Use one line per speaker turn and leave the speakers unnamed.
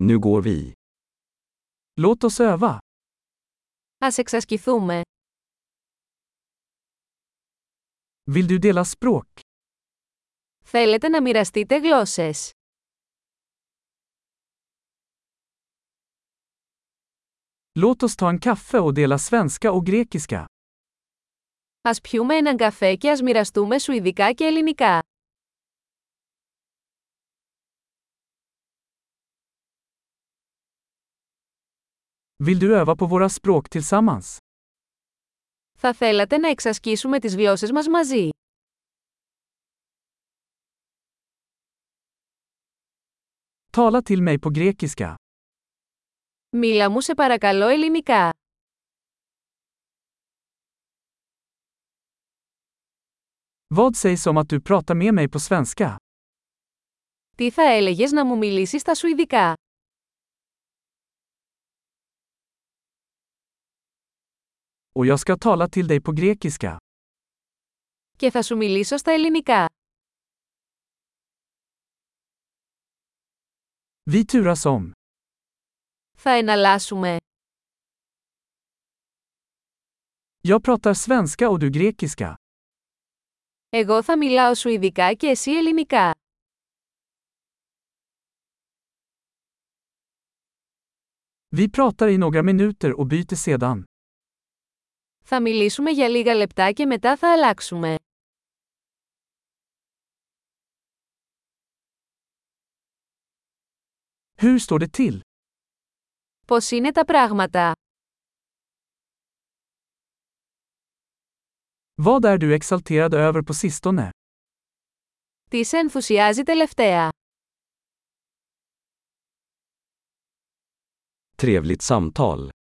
Nu går vi.
Λότο öva.
Ας εξασκηθούμε.
Vill du dela språk?
Θέλετε να μοιραστείτε γλώσσες.
Låt oss ta en kaffe och dela svenska och grekiska.
Ας πιούμε έναν καφέ και ας μοιραστούμε σουηδικά και ελληνικά.
Vill du öva på våra språk tillsammans?
Θα θέλατε να εξασκήσουμε τις γλώσσες μας μαζί.
Tala till mig på grekiska.
Μίλα μου σε παρακαλώ ελληνικά.
Vad sägs om att du pratar med mig på svenska?
Τι θα έλεγες να μου μιλήσεις στα σουηδικά.
Och jag ska tala till dig på grekiska.
Και θα σου μιλήσω στα ελληνικά.
Vi turas om.
Θα εναλλάσσουμε.
Jag pratar svenska och du grekiska.
Εγώ θα μιλάω σουηδικά και εσύ ελληνικά.
Vi pratar i några minuter och byter sedan.
Θα μιλήσουμε για λίγα λεπτά και μετά θα αλλάξουμε.
Hur står det till?
Πώς είναι τα πράγματα.
Vad är du exalterad över på sistone?
Τι σε ενθουσιάζει τελευταία.
Trevligt samtal.